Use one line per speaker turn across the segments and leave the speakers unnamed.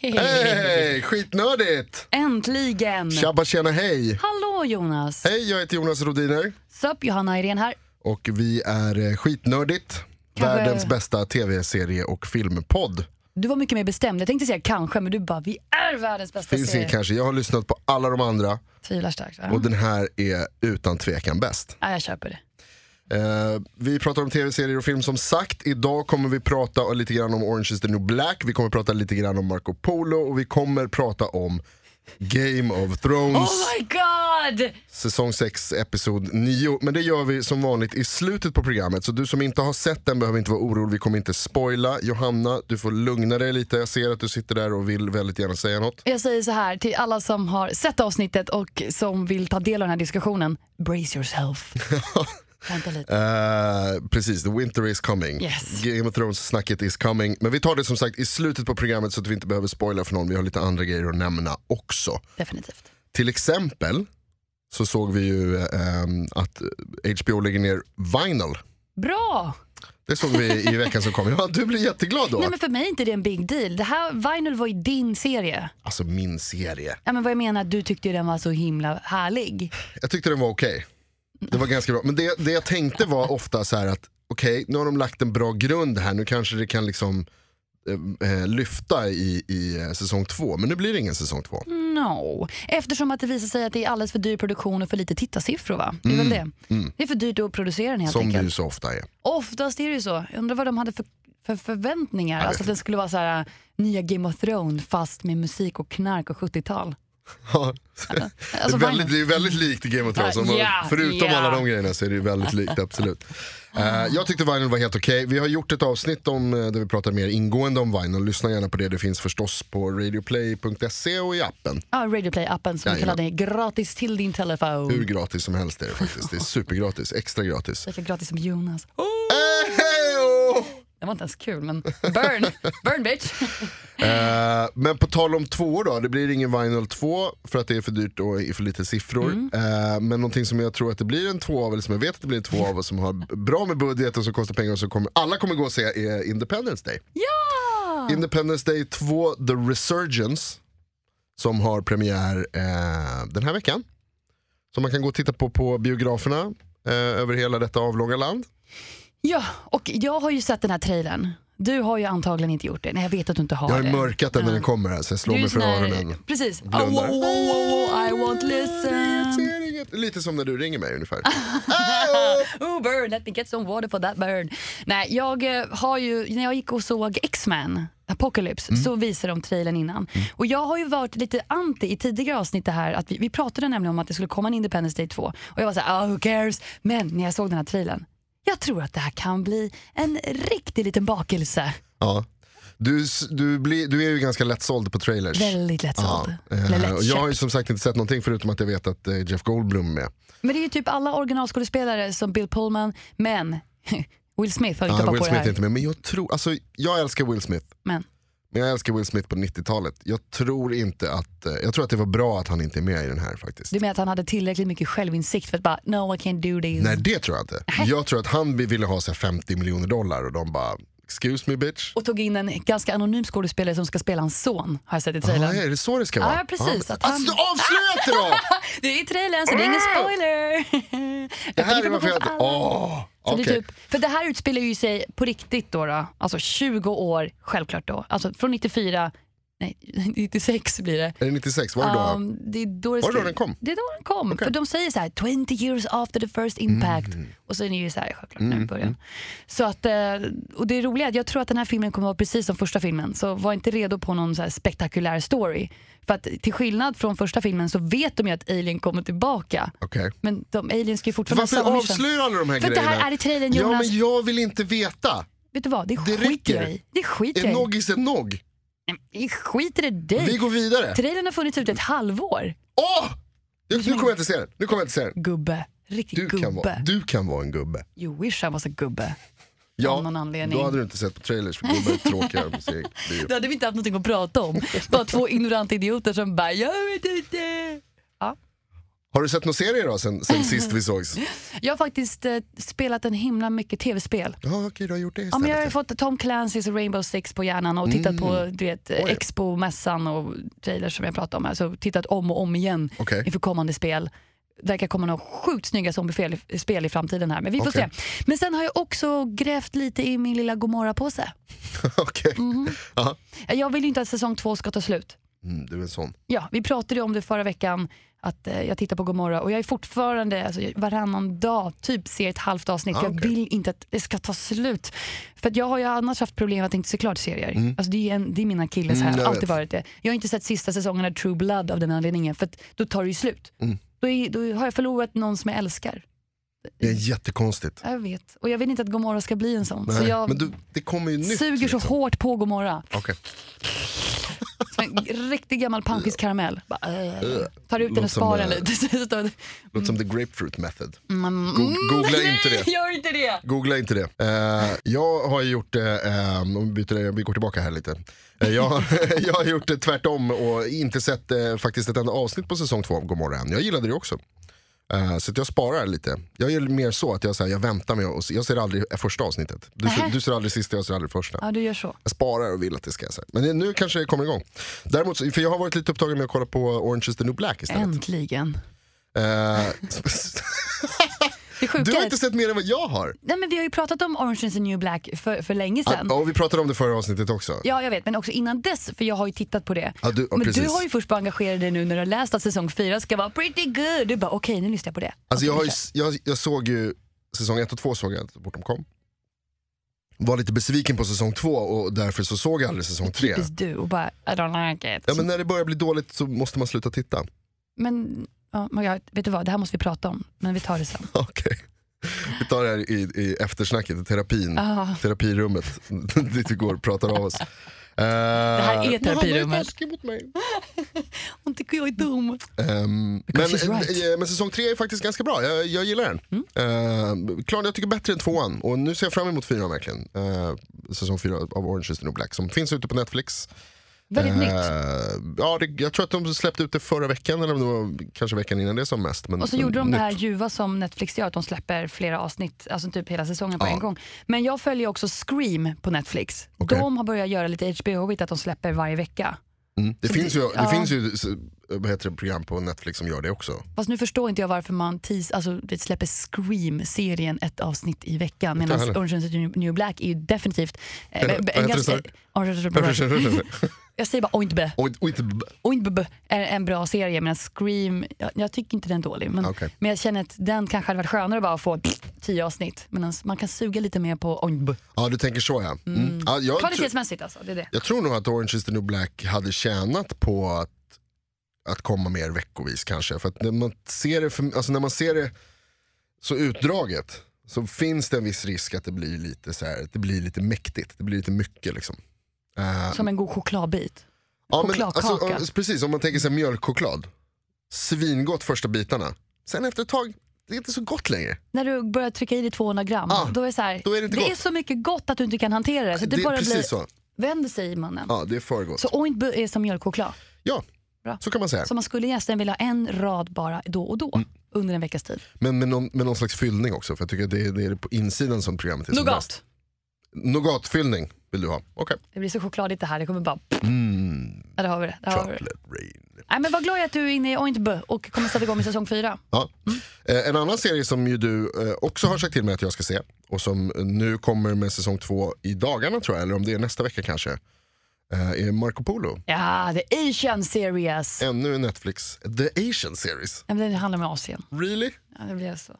Hej! Skitnördigt!
Äntligen!
Tjabba tjena hej!
Hallå Jonas!
Hej, jag heter Jonas Rodiner
Sup, Johanna Irene här.
och vi är eh, Skitnördigt,
Kanske-
världens bästa tv-serie och filmpodd.
Du var mycket mer bestämd. Jag tänkte säga kanske, men du bara vi är världens bästa
Finns det
serie.
kanske, jag har lyssnat på alla de andra
Tvivlar starkt. Ja.
och den här är utan tvekan bäst.
ja, jag köper det.
Eh, vi pratar om tv-serier och film som sagt. Idag kommer vi prata lite grann om Orange is the new black, vi kommer prata lite grann om Marco Polo och vi kommer prata om Game of Thrones.
Oh my god!
säsong 6, episod 9. Men det gör vi som vanligt i slutet på programmet. Så du som inte har sett den behöver inte vara orolig, vi kommer inte spoila. Johanna, du får lugna dig lite. Jag ser att du sitter där och vill väldigt gärna säga något.
Jag säger så här till alla som har sett avsnittet och som vill ta del av den här diskussionen. Brace yourself. Vänta lite.
Eh, precis, the winter is coming.
Yes.
Game of Thrones-snacket is coming. Men vi tar det som sagt i slutet på programmet så att vi inte behöver spoila för någon. Vi har lite andra grejer att nämna också.
Definitivt.
Till exempel så såg vi ju eh, att HBO lägger ner Vinyl.
Bra!
Det såg vi i veckan som kom. Ja, du blir jätteglad då.
Nej men för mig är inte det en big deal. Det här, Vinyl var ju din serie.
Alltså min serie.
Ja, men vad jag menar, du tyckte ju den var så himla härlig.
Jag tyckte den var okej. Det var ganska bra. Men det, det jag tänkte var ofta så här att okej, nu har de lagt en bra grund här. Nu kanske det kan liksom eh, eh, lyfta i, i eh, säsong två. Men nu blir det ingen säsong två.
Mm, No. Eftersom att det visar sig att det är alldeles för dyr produktion och för lite tittarsiffror va? Det är väl det? Det är för dyrt att producera den helt
Mm, som det ju
enkelt.
så ofta är.
Oftast är det ju så. Jag undrar vad de hade för, för förväntningar.
vet
Alltså att den skulle vara så här nya Game of Thrones fast med musik och knark och 70-tal.
Ja. det, är
Vinyl.
väldigt, det är ju väldigt likt Game of Thrones.
Alltså, Ja,
Om man-
ja,
Förutom
ja. Ah.
alla de grejerna så är det ju väldigt likt, absolut. Eh, jag tyckte Vinyl var helt okej. Vi har gjort ett avsnitt om, eh, där vi pratar mer ingående om Vinyl. Lyssna gärna på det. Det finns förstås på radioplay.se och i appen.
Ja, Radioplay-appen som du kan
Jajamän.
ladda ner gratis till din telefon.
Hur gratis som helst är det faktiskt. Det är supergratis, extra gratis.
Lika gratis som Jonas. Oh,
Ehejo!
det var inte ens kul men burn, burn bitch.
Eh, men på tal om två då, det blir ingen Vinyl 2 för att det är för dyrt och för lite siffror. Eh, men någonting som jag tror att det blir en två av, eller som jag vet att det blir en två av och som har bra med budget och som kostar pengar och som kommer, alla kommer gå och se är Independence Day.
Ja!
Independence Day 2, The Resurgence, som har premiär eh, den här veckan. Som man kan gå och titta på på biograferna eh, över hela detta avlånga land.
Ja, och jag har ju sett den här trailern. Du har ju antagligen inte gjort det. Nej, jag vet att du inte har
Jag har
det.
ju mörkat den när den
Ja.
kommer här så jag slår
Du är
mig
ju
för
sån här-
öronen.
Precis. Oh, oh,
Blundar.
oh, oh, oh, I won't listen.
Ser inget. Lite som när du ringer mig ungefär.
Oh burn, let me get some water for that burn. Nej, jag eh, har ju, när jag gick och såg X-Men, Apocalypse, så visade de trailern innan. Och jag har ju varit lite anti i tidigare avsnitt det här, att vi, vi pratade nämligen om att det skulle komma en Independence Day 2. Och jag var så här, oh, who cares? Men när jag såg den här trailern, jag tror att det här kan bli en riktig liten bakelse.
ja. du, s- du, blir, du är ju ganska lättsåld på trailers.
Väldigt lättsåld.
Ja. Eh,
Eller
och jag har ju
lättköpt.
som sagt inte sett någonting förutom att jag vet att eh, Jeff Goldblum är med.
Men det är ju typ alla originalskådespelare som Bill Pullman, men Will Smith har ju inte
Ah,
hoppat
Will
på det
Smith är
här.
inte med. Men jag, tror, alltså, jag älskar Will Smith,
Men,
men jag älskar Will Smith på 90-talet. Jag tror inte att eh, Jag tror att det var bra att han inte är med i den här faktiskt.
du menar att han hade tillräckligt mycket självinsikt för att bara no I can't do this.
Nej det tror jag inte. Jag tror att han ville ha så här, 50 miljoner dollar och de bara excuse me bitch.
Och tog in en ganska anonym skådespelare som ska spela hans son har jag sett i
Ah,
trailern.
är det så det ska vara?
Ja, precis,
Ah,
att han-
Alltså avslöja inte då!
Det är i trailern så det är ingen spoiler.
Det här är varför jag...
Information för alla.
Åh,
Så det är
okej.
typ, för det här utspelar ju sig på riktigt då, då. Alltså 20 år, självklart då. Alltså från 94, nej 96 blir det.
Är det 96? Var det då?
Um, det är då det
Var det då
skulle-
den kom?
Det är då den kom. För de säger så här 20 years after the first impact.
Mm.
Och så är det ju så här självklart nu i början. Så att, eh, och det är roliga är att jag tror att den här filmen kommer vara precis som första filmen. Så var inte redo på någon så här spektakulär story. För att till skillnad från första filmen så vet de ju att Alien kommer tillbaka.
Okej.
Men de aliens ska ju fortfarande
Varför
ha samma mission.
avslöjar alla de här
För att det
grejerna?
här är i trailern,
Ja
Jonas.
men jag vill inte veta.
Vet du vad, det,
Det
skiter
räcker.
jag i. Det skiter
En
jag i.
nogg is en nogg.
Nej, men skit i det dig.
Vi går vidare.
Trailern har funnits ute ett halvår.
Åh! Nu, nu kommer jag inte se den. Nu kommer jag inte se den.
Gubbe. Riktigt
Du
gubbe.
kan, vara, du kan vara en gubbe.
You wish I was a gubbe. Av någon anledning.
Då hade du inte sett på trailers för gubbar är tråkigare på sig. Det är-
Då hade vi inte haft någonting att prata om. Bara två ignoranta idioter som bara, jag vet inte.
Har du sett någon serie då sen, sen sist vi sågs?
Jag har faktiskt eh, spelat en himla mycket tv-spel.
Ja, okej, du har gjort det
Ja, men jag har ju
istället.
fått Tom Clancys Rainbow Six på hjärnan och tittat på du vet,
Mm. Oj.
Expo-mässan och trailers som jag pratade om. här. Så tittat om och om igen
Okej.
inför kommande spel. Verkar komma några sjukt snygga zombiespel i- spel i framtiden här, men vi får
Okej.
se. Men sen har jag också grävt lite i min lilla Gomorra-påse.
Okej.
Mhm.
Ja.
Jag vill ju inte att säsong två ska ta slut.
Mm, du är en sån.
Ja, vi pratade ju om det förra veckan, att eh, jag tittar på Gomorra och jag är fortfarande, alltså, jag- varannan dag, typ ser ett halvt avsnitt.
Ah,
jag
okej.
vill inte att det ska ta slut. För att jag har ju annars haft problem att inte se klart serier. Alltså, det, är en, det är mina killes här,
Mm, jag
alltid
vet.
varit det. Jag har inte sett sista säsongen av True Blood av den anledningen, för att då tar det ju slut.
Mm.
Då, är, då har jag förlorat någon som jag älskar.
Det är jättekonstigt.
Jag vet. Och jag vill inte att Gomorra ska bli en sån. så
Nej.
jag
Men du, det kommer ju nytt.
suger så
liksom.
hårt på Gomorra.
Okej.
Som en riktig gammal panfiskkaramell. Bara, äh, tar ut den och
Låter som,
sparar den
eh,
lite. Så står-
Låter som the grapefruit method.
Mm.
Go- googla inte
Nej,
det.
gör inte det!
Googla inte det. Eh, jag har ju gjort det, eh, om vi, byter, vi går tillbaka här lite. Eh, jag, jag har gjort det tvärtom och inte sett eh, faktiskt ett enda avsnitt på säsong två av Gomorra än. Jag gillade det också. Eh, så att jag sparar lite. Jag gör mer så att jag, så här, jag väntar med och jag ser aldrig första avsnittet. Du, ser-
Nähä.
du ser aldrig sista, jag ser aldrig första.
Ja, du gör så.
Jag sparar och vill att det ska så här. Men det- nu kanske det kommer igång. Däremot, så- för jag har varit lite upptagen med att kolla på Orange is the new black istället.
Äntligen.
Eh,
Det sjuka
du
är
har
att-
inte sett mer än vad jag har.
Nej, men vi har ju pratat om Orange is the new black för, för länge sedan.
Ja, och vi pratade om det förra avsnittet också.
Ja, jag vet, men också innan dess, för jag har ju tittat på det.
Ja, du- ja,
men du
precis.
har ju först bara engagerat dig nu när du har läst att säsong fyra ska vara pretty good. Du bara, okej, nu lyssnar jag på det.
Alltså jag, har ju,
Okej,
jag, jag såg ju säsong 1 och 2 såg jag inte så fort de kom. Var lite besviken på säsong 2 och därför så såg jag aldrig säsong 3.
Precis du och bara, I don't like it.
Ja, men när det börjar bli dåligt så måste man sluta titta.
Men, ja, men jag, vet du vad, det här måste vi prata om, men vi tar det sen.
Okej. Vi tar det här i, i eftersnacket, i terapin.
Ah.
Terapirummet. Dit vi går och pratar av oss. det
här är
Han var ju
terapirummet.
taskig mot mig.
Hon tycker jag är dum.
Ehm, men,
Because she's right. Mm.
eh, men säsong tre är faktiskt ganska bra, jag, jag gillar den. Ehm, klart jag tycker bättre än tvåan och nu ser jag fram emot fyran verkligen. Ehm, säsong fyra av Orange is the new black som finns ute på Netflix.
Väldigt
Ehm,
nytt.
Ja, det, jag tror att de släppte ut det förra veckan eller om det var kanske veckan innan det som mest. Men,
Och så
men,
gjorde de det här
nytt.
ljuva som Netflix gör, att de släpper flera avsnitt, alltså typ hela säsongen på
Ja.
en gång. Men jag följer också Scream på Netflix.
Okej.
De har börjat göra lite HBO-igt, att de släpper varje vecka.
Mm. Det, finns ju, det
typ- Ja.
finns ju s- vad heter det, program på Netflix som gör det också.
Fast nu förstår inte jag varför man tis, alltså, det släpper Scream-serien ett avsnitt i veckan. Medan
heller.
Orange is the New- New Black är ju definitivt... eh,
Eller,
en
vad heter det,
ganska-
sorry?
Orange is the New Black. Jag säger bara Ointbe.
och, och inte,
Ointbe är en bra serie, medan Scream, jag, jag tycker inte den är dålig. Men,
Okej.
men jag känner att den kanske hade varit skönare bara att få tio avsnitt. Medan man kan suga lite mer på Ointbe.
ja, du tänker så ja. Mm. ja jag, tror-
Kvalitetsmässigt alltså, det är det.
Jag tror nog att Orange is the new black hade tjänat på att, att komma mer veckovis kanske. För att när man ser det, för, alltså när man ser det så utdraget så finns det en viss risk att det blir lite, så här, att det blir lite mäktigt. Det blir lite mycket liksom. Eh,
Som en god chokladbit.
ja, men,
chokladkaka.
alltså, om- precis, om man tänker sig mjölkchoklad. Svingott första bitarna. Sen efter ett tag, det är inte så gott längre.
När du börjar trycka i dig 200 gram,
Ah,
då är det så här,
då är det inte gott. Alltså,
så mycket gott att du inte kan hantera det. Så det,
det är
bara
precis
blir,
så.
vänder sig i munnen.
Ja, det är för gott.
Så ointbe är som mjölkchoklad.
ja,
Bra.
så kan man säga.
Så man skulle egentligen vilja ha en rad bara då och då
Mm.
under en veckas tid.
Men med någon, med någon slags fyllning också. För jag tycker att det är, det är på insidan som programmet är som bäst.
Nougat.
Nougatfyllning vill du ha. Okej.
Det blir så chokladigt det här, det kommer bara...
Mm.
Ja, där har vi det. Där har vi det.
Chocolate rain.
Nej, men vad glad jag är att du är inne i Ointbe och kommer sätta igång med säsong fyra.
Ja. Eh, En annan serie som ju du eh, också har sagt till mig att jag ska se och som eh, nu kommer med säsong två i dagarna tror jag, eller om det är nästa vecka kanske, eh, är Marco Polo.
Ja, The Asian Series.
Ännu en Netflix, The Asian Series.
Ja, men det handlar om Asien.
Really?
Ja, det blir så.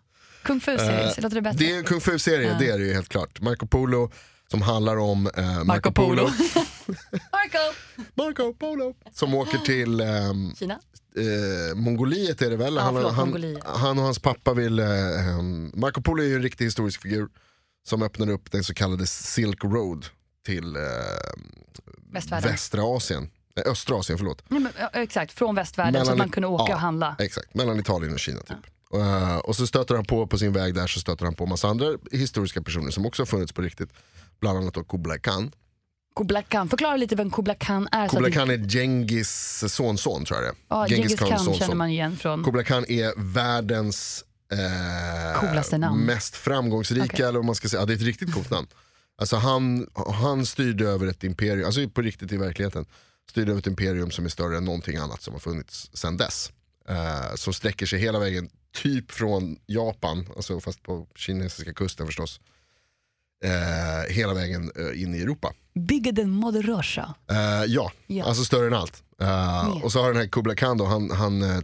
Kung Fu Series, låter det bättre?
Eh, Det är en kung fu-serie, det är det ju helt klart. Marco Polo som handlar om eh, Marco, Polo.
Marco!
Marco Polo. Som åker till ehm,
Kina.
eh, Mongoliet är det väl?
Ja,
han,
förlåt,
han,
Mongoliet.
han och hans pappa vill, eh, ehm, Marco Polo är ju en riktig historisk figur som öppnade upp den så kallade Silk Road till eh,
Västvärlden.
västra Asien. Nej, östra Asien, förlåt.
Nej, men, ja, exakt, från västvärlden så att man kunde åka
ja,
och handla.
Exakt, mellan Italien och Kina typ. Eh, och så stöter han på, på sin väg där så stöter han på massa andra historiska personer som också har funnits på riktigt. Bland annat då Kublai Khan.
Alltså, Kublai Khan, förklara lite vem Kublai Khan är. så
Kublai
att-
Khan är Genghis sonson tror jag det är.
ja, Genghis Khan känner man igen från...
Kublai Khan är världens eh,
Coolaste namn.
mest framgångsrika,
Okej.
eller vad man ska säga, ja, det är ett riktigt coolt namn. Alltså han, han styrde över ett imperium, alltså på riktigt i verkligheten, styrde över ett imperium som är större än någonting annat som har funnits sedan dess. Eh, som sträcker sig hela vägen typ från Japan, alltså fast på kinesiska kusten förstås, eh, hela vägen eh, in i Europa.
Bigger than Mother Russia.
Eh, ja.
Ja.
alltså större än allt. Eh, Och så har den här Kubla Khan då, han, han eh,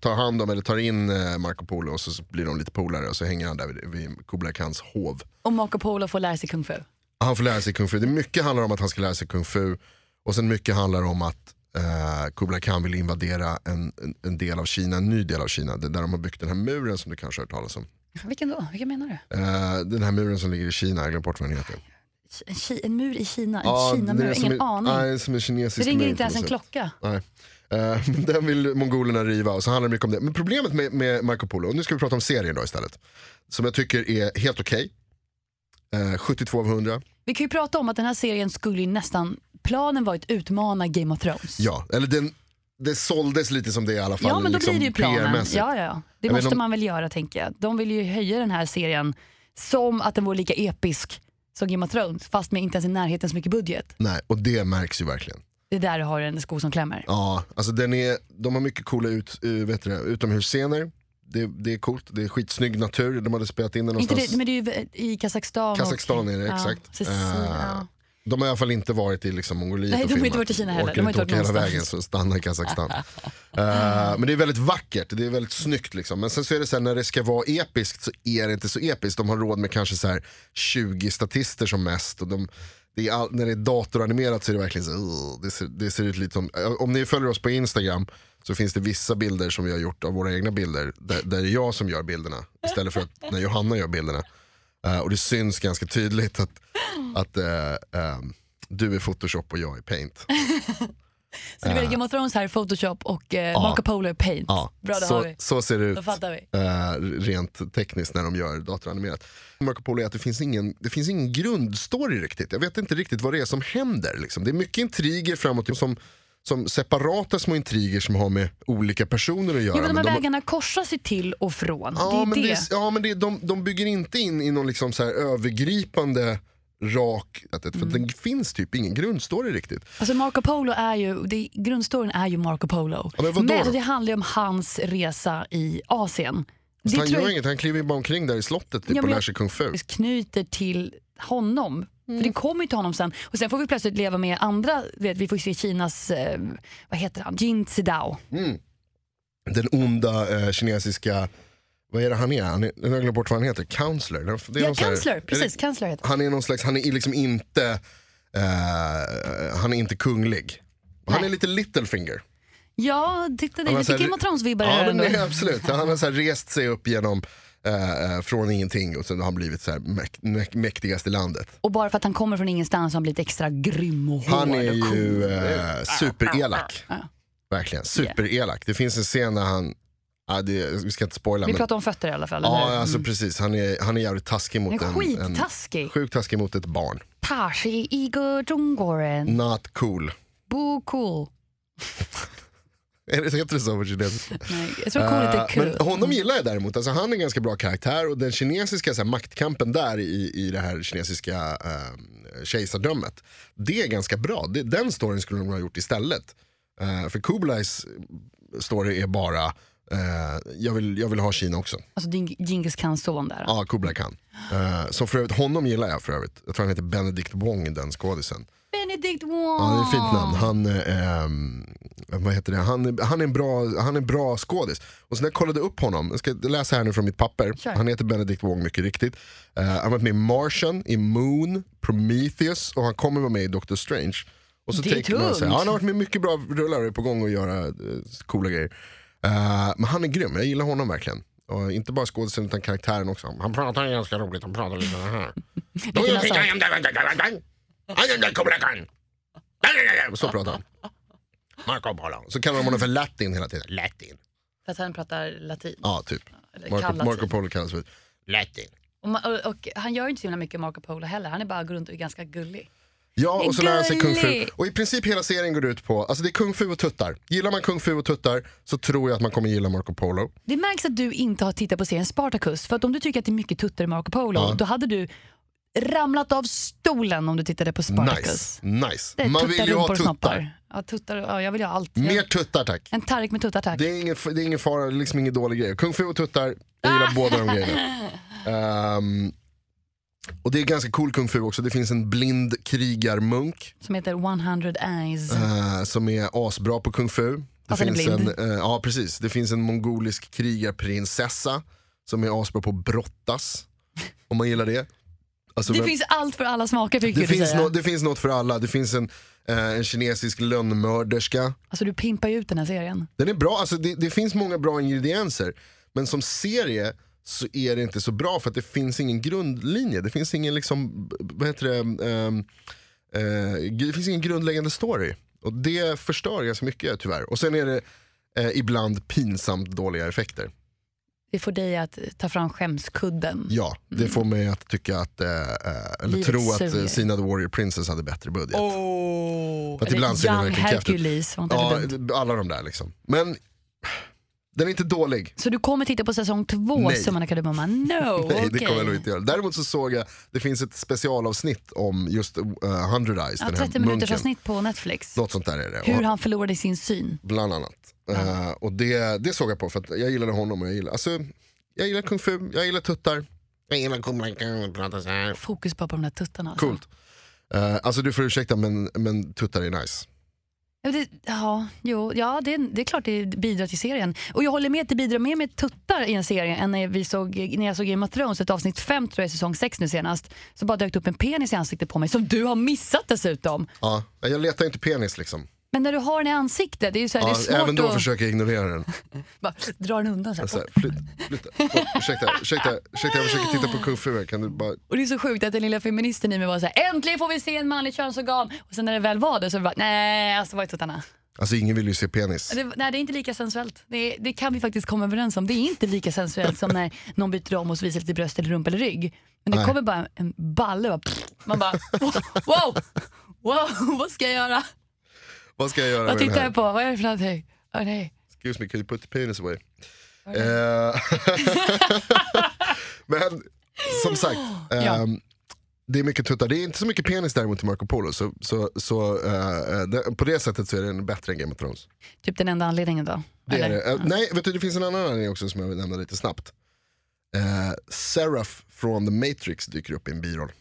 tar hand om, eller tar in eh, Marco Polo och så, så blir de lite polare och så hänger han där vid, vid Kubla Khans hov.
Och Marco Polo får lära sig kung fu.
Han får lära sig kung fu, det mycket handlar om att han ska lära sig kung fu och sen mycket handlar om att eh, Kubla Khan vill invadera en, en, en del av Kina, en ny del av Kina, det- där de har byggt den här muren som du kanske har hört talas om.
Vilken då? Vilken menar du?
Eh, den här muren som ligger i Kina, jag har glömt bort vad den heter.
En, ki- en mur i Kina? En
Ja, det är
Kinamur?
som
Ingen
är-
aning.
Nej, som en kinesisk
det ringer
mur
inte
på
ens
något
en
sätt.
klocka.
Nej. Eh, men den vill mongolerna riva och så handlar det mycket om det. Men problemet med, med Marco Polo, och nu ska vi prata om serien då istället. Som jag tycker är helt okej. Eh, 72 av 100.
Vi kan ju prata om att den här serien skulle ju nästan... Planen var ju att utmana Game of Thrones.
Ja, eller den, det såldes lite som det i alla fall.
ja men då
liksom
blir det ju planen.
PR-mässigt.
Ja, ja, ja. Det
Jag vet
måste
om-
man väl göra tänker jag. De vill ju höja den här serien som att den vore lika episk som Game of Thrones fast med inte ens i närheten så mycket budget.
Nej, och det märks ju verkligen.
Det är där du har en sko som klämmer.
Ja, alltså den är, de har mycket coola ut, eh, vet du, det, utomhusscener. Det, det är coolt, det är skitsnygg natur. De hade spelat in den
Inte
någonstans.
det, men det är ju i Kazakstan.
Kazakstan är det,
ja,
exakt.
Precis, ja.
Eh, De har i alla fall inte varit i liksom Mongoliet
Nej,
och
de har inte
filmat.
varit i Kina heller.
Orkar
De har
inte
inte
åka
varit
hela vägen
någonstans.
så stannar i Kazakstan. Eh, men det är väldigt vackert, det är väldigt snyggt. Liksom. Men sen så är det så här, när det ska vara episkt så är det inte så episkt. De har råd med kanske så här 20 statister som mest. Och de, det är all, när det är datoranimerat så är det verkligen så här, "Ugh", det, ser, det ser ut lite som, eh, om ni följer oss på Instagram så finns det vissa bilder som vi har gjort av våra egna bilder. Där, där det är jag som gör bilderna istället för att när Johanna gör bilderna. Eh, och det syns ganska tydligt att, att eh, ehm, du är Photoshop och jag är Paint.
Så det blir Game of Thrones här, Photoshop och eh, Marco Polo och Paint.
eh. Ja,
Bra, det
så,
har vi.
så ser det ut
Då fattar vi.
eh, rent tekniskt när de gör datoranimerat. Marco Polo är att det finns ingen, det finns ingen grundstory riktigt. Jag vet inte riktigt vad det är som händer. Liksom. Det är mycket intriger framåt typ som, som separata små intriger som har med olika personer att göra.
Jo, men de här
men de-
vägarna korsas ju till och från.
Ja,
det är
men
det.
det är- ja, men det, är- de, de bygger inte in i någon liksom så här övergripande rak, för att
Mm.
det finns typ ingen grundstory riktigt.
Alltså Marco Polo är ju, det, grundstoryn är ju Marco Polo.
Ja, men vadå då?
det handlar ju om hans resa i Asien.
Så han
tror
gör
jag-
inget, han kliver ju bara omkring där i slottet typ,
Ja, men
och lär
jag-
sig kung fu.
faktiskt knyter till honom. För det kommer ju till honom sen. Och sen får vi plötsligt leva med andra, du vet, vi får ju se Kinas, eh, vad heter han, Jin Zidao.
Den onda eh, kinesiska, vad är det han är? Han är nu har jag glömt bort vad han heter, counselor? Det är någon- det är
Ja,
någon så här-
kansler,
är det-
precis, kansler heter han.
Han är någon slags, han är liksom inte, eh, han är inte kunglig. Han
Nej.
är lite Littlefinger.
Ja, titta det
Han
är
har så
lite
här-
Game of Thrones-vibbar
Ja,
här
men
ändå.
nej, absolut. Han har så här rest sig upp genom eh, eh, från ingenting och sen har han blivit så här mäk- mäk- mäktigast i landet.
Och bara för att han kommer från ingenstans har han blivit extra grym och hård.
Han är
och cool.
ju eh, superelak.
Ja.
Verkligen, superelak. Det finns en scen när han, ja, det, vi ska inte spoila.
Vi
Men,
pratar om fötter i alla fall. eller hur?
ja, alltså, precis. Han är, han är jävligt taskig mot
Han är
en, en,
skittaskig.
sjukt taskig mot ett barn.
Tashi igo zhonggoren,
Not cool.
bu cool.
Är det, heter det så på kinesiska?
Nej, jag tror coolt är
Eh,
kul.
Men honom gillar jag däremot. Alltså, han är en ganska bra karaktär och den kinesiska så här, maktkampen där i, i det här kinesiska eh, kejsardömet. Det är ganska bra. Det, den storyn skulle de ha gjort istället. Eh, för Kublais story är bara eh, jag, vill, jag vill ha Kina också.
Alltså Ding- Genghis Khans son där.
Ja, Kublai Khan. Eh, som för övrigt, honom gillar jag för övrigt. Jag tror han heter Benedict Wong, den skådisen.
Benedict Wong!
Ja, det är ett fint namn. Han, eh, ehm, vad heter det? Han, han är en bra, han är en bra skådis. Och sen när jag kollade upp honom, jag ska läsa här nu från mitt papper.
Kör.
Han heter Benedict Wong mycket riktigt. Eh, han har varit med i Martian, i Moon, Prometheus och han kommer vara med i Doctor Strange. Och så
Det är
tänker man så här,
tungt.
ja, han har varit med i mycket bra rullar och är på gång att göra eh, coola grejer. Eh, men han är grym, jag gillar honom verkligen. Och inte bara skådisen utan karaktären också. Han pratar ganska roligt, han pratar lite så här.
Lite nasalt.
Så pratar han. Marco Polo. Så kallar de honom för latin hela tiden. Latin.
För att han pratar latin.
Ja, typ.
Eller
Marco,
kan latin.
Marco Polo kallas för latin.
Och, ma- och, och han gör ju inte så himla mycket Marco Polo heller. Han är bara går runt och är ganska gullig.
Ja, och så lär han sig kung fu.
Gullig.
Och i princip hela serien går ut på, alltså det är kung fu och tuttar. Gillar man kung fu och tuttar så tror jag att man kommer gilla Marco Polo.
Det märks att du inte har tittat på serien Spartacus. För att om du tycker att det är mycket tuttar i Marco Polo, då hade du ramlat av stolen om du tittade på Spartacus.
Nice, nice.
Det är
Man vill ju ha
rumpor och
tuttar.
snoppar. Ja, tuttar och- ja, jag vill ju ha allt.
Mer
Jag,
tuttar tack.
en Tareq med tuttar tack.
Det är ingen, det är ingen fara, det är liksom ingen dålig grej. Kung fu och tuttar,
Ah!
jag gillar båda de grejerna. Ehm, och det är ganska cool kung fu också, det finns en blind krigarmunk
Som heter 100 Eyes.
eh, som är asbra på kung fu. Det
Fast han är
finns en,
Mm. Alltså blind.
eh, ja, precis. det finns en mongolisk krigarprinsessa som är asbra på att brottas. Om man gillar det. Alltså,
det
vem-
finns allt för alla smaker fick
det,
du
finns
säga.
nå- det finns något för alla, det finns en, eh, en kinesisk lönnmörderska.
Alltså du pimpar ju ut den här serien.
Den är bra, alltså det, det finns många bra ingredienser. Men som serie så är det inte så bra för att det finns ingen grundlinje. Det finns ingen liksom, b- vad heter det, ehm, eh, det finns ingen grundläggande story. Och det förstör ganska mycket tyvärr. Och sen är det eh, ibland pinsamt dåliga effekter.
Det får dig att ta fram skämskudden.
Ja, det får mig att tycka att, eh, eh, eller
Mm. Livet
tro att eh,
suger.
Sina the Warrior Princess hade bättre budget.
Oh.
Att ibland ser den
Young
verkligen kräftig ut.
Hercules. var inte det
Ja,
dumt?
alla de där liksom. Men den är inte dålig.
Så du kommer titta på säsong två,
Nej.
Summan av kardemumman? No,
Nej, det
okej.
kommer jag nog inte göra. Däremot så såg jag, det finns ett specialavsnitt om just uh, 100 Eyes,
Ja,
den här
30 minuters
munken.
avsnitt på Netflix.
Något sånt där är det.
Hur
Och,
han förlorade sin syn.
bland annat. Eh, och det, det såg jag på för att jag gillade honom och jag gillade, alltså, jag gillar kung fu, jag gillar tuttar. Jag gillar kumlan, prata så här.
Fokus bara på de där tuttarna. alltså.
Coolt. Eh, alltså du får ursäkta men, men tuttar är nice.
Ja, det, ja, jo, ja det, det är klart det bidrar till serien. Och jag håller med att det bidrar mer med tuttar i en serie än när, vi såg, när jag såg Game of Thrones, ett avsnitt 5 tror jag, i säsong 6 nu senast. Så bara dök det upp en penis i ansiktet på mig, som du har missat dessutom.
Ja, jag letar inte penis liksom.
Men när du har den i ansiktet, det är ju så här,
Ja,
det är svårt
även då
att
försöker Alltså- jag ignorera den.
bara, dra den undan. Så här.
Så här, flyt, flyt, flyt, Oh, ursäkta, ursäkta, ursäkta, jag försöker titta på kung fu, här. kan du bara
Och det är så sjukt att den lilla feministen i mig var så här, äntligen får vi se en manlig könsorgan. Och sen när det väl var det så var det bara, nej, alltså var är tuttarna?
Alltså ingen vill ju se penis.
Det, nej, det är inte lika sensuellt. Det, det kan vi faktiskt komma överens om. Det är inte lika sensuellt som när någon byter om och så visar lite bröst eller rumpa eller rygg. Men det
Nej.
kommer bara en balle och bara, pff. man bara wow, wow, wow, vad ska jag göra?
Vad ska jag göra
Vad
med den
tittar
här?
jag på? Vad är det för någonting? Åh, nej.
Excuse me, can you put the penis away? Eh, Men som sagt, ehm,
Ja.
det är mycket tuttar. Det är inte så mycket penis däremot i Marco Polo. Så, så, så, eh, eh, det- på det sättet så är den bättre än Game of Thrones.
Typ den enda anledningen då.
Det är
eller?
det. Eh, Nej, vet du, det finns en annan anledning också som jag vill nämna lite snabbt. Eh, Seraph från The Matrix dyker upp i en biroll.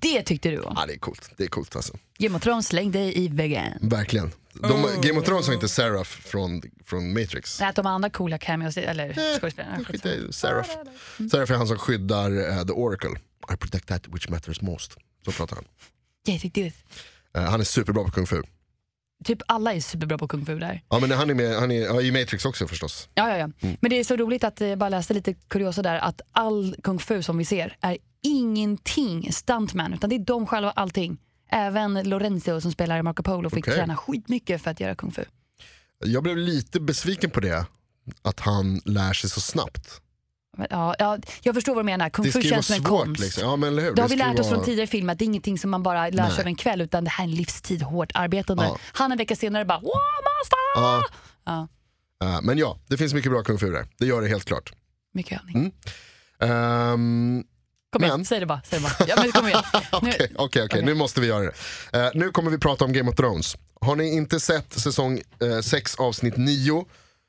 det tyckte du om.
Ja, det är coolt. Det är coolt alltså.
Game of Thrones, släng dig i väggen.
Verkligen. De,
Oh.
Game of Thrones har inte Seraph från, från Matrix.
Nej, att de andra coola cameos, eller skådespelarna.
Eh, Skit i Seraph. Seraph är han som skyddar eh, The Oracle. I protect that which matters most. Så pratar han.
Yes, it is.
Eh, han är superbra på kung fu.
Typ alla är superbra på kung fu där.
Ja, men han är med han är, ja, i Matrix också förstås.
Ja, ja, ja.
Mm.
Men det är så roligt att eh, bara läste lite kuriosa där att all kung fu som vi ser är ingenting stuntman utan det är de själva allting. Även Lorenzo som spelar Marco Polo fick
Okej.
träna skitmycket för att göra kung fu.
Jag blev lite besviken på det. Att han lär sig så snabbt.
Men, Ja, ja, jag förstår vad du menar, kung
Det
fu
ska ju vara
känns som en
svårt.
konst.
Liksom. Ja, men, eller hur?
Det har
ska
vi
ju
lärt oss
vara-
från tidigare filmer att det är ingenting som man bara lär sig
Nej.
över en kväll utan det här är en livstid, hårt arbetande.
Ja.
Han en vecka senare bara “Wow, master!”
Ja.
Ja.
Eh, men ja, det fincket bra kung fu där. Det gör det helt klart.
Mycket övning.
Mm. Ehm,
Kom igen,
Men-
säg det bara. Säg det bara. Ja, men kom igen. Nu-
Okej, okej, okej. nu måste vi göra det. Eh, nu kommer vi prata om Game of Thrones. Har ni inte sett säsong 6 avsnitt 9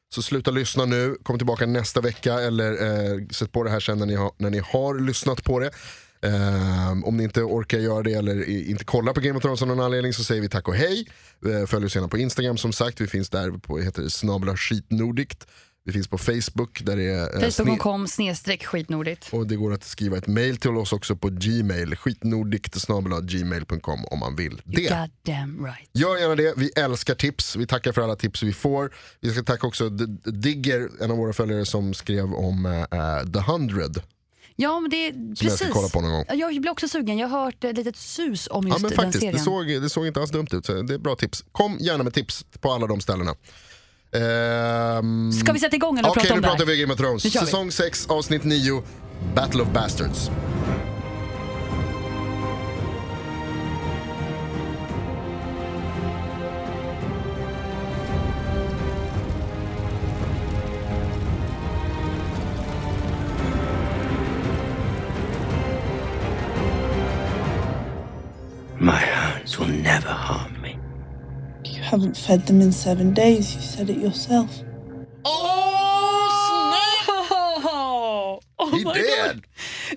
så sluta lyssna nu, kom tillbaka nästa vecka eller eh, sätt på det här sen när ni, har- när ni har lyssnat på det. Ehm, om ni inte orkar göra det eller i- inte kollar på Game of Thrones av någon anledning så säger vi tack och hej. Eh, följ oss gärna på Instagram som sagt, vi finns där på heter det, snabla skitnordikt. Vi finns på Facebook där det är eh, sne-
Facebook.com snedstreck skitnordigt.
och det går att skriva ett mail till oss också på gmail, skitnordikt.gmail.com om man vill det.
God damn right.
Gör gärna det, vi älskar tips, vi tackar för alla tips vi får. Vi ska tacka också D- Digger, en av våra följare som skrev om eh, eh, The Hundred.
Ja, men det, precis.
jag ska kolla på någon gång.
Ja, Jag blir också sugen. Jag har hört ett litet sus om
Ja
just
men
den
faktiskt, det
serien.
såg, det såg inte alls dumt ut. Så det är bra tips. Kom gärna med tips på alla de ställena. Ehm,
Ska vi sätta igång eller
Okej,
prata om
nu
det här?
pratar vi Game of Thrones.
Nu kör vi.
Säsong 6, avsnitt 9, Battle of Bastards.
My hounds will never harm me.
You haven't fed them in seven days, you said it yourself.
Oh my
He dead!
Oh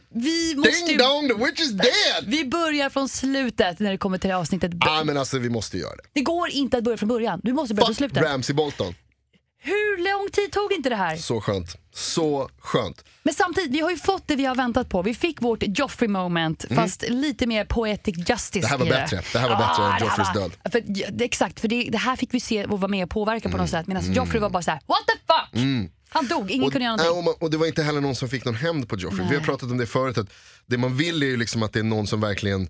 Vi måste
Ding
ju,
dong, the witch is dead!
Vi börjar från slutet när det kommer till det här avsnittet.
ah, men alltså vi måste göra det.
Det går inte att börja från början. Du måste börja från
Fuck
slutet.
Ramsey Bolton.
Hur lång tid tog inte det här?
Så skönt. Så skönt.
Men samtidigt, vi har ju fått det vi har väntat på. Vi fick vårt Joffrey moment, fast lite mer poetic justice
Mm. Det här var
i
bättre. Det här var bättre än
det här
Joffreys
var-
död.
För, ja, det, exakt, för det, det här fick vi se och vara med och påverka på något sätt. Medan Joffrey var bara så här: what the fuck! Han dog, ingen
Mm. Och,
kunde göra
äh,
någonting.
och, man, och det var inte heller någon som fick någon hämnd på Joffrey. Vi har pratat om det förut, att det man vill är ju liksom att det är någon som verkligen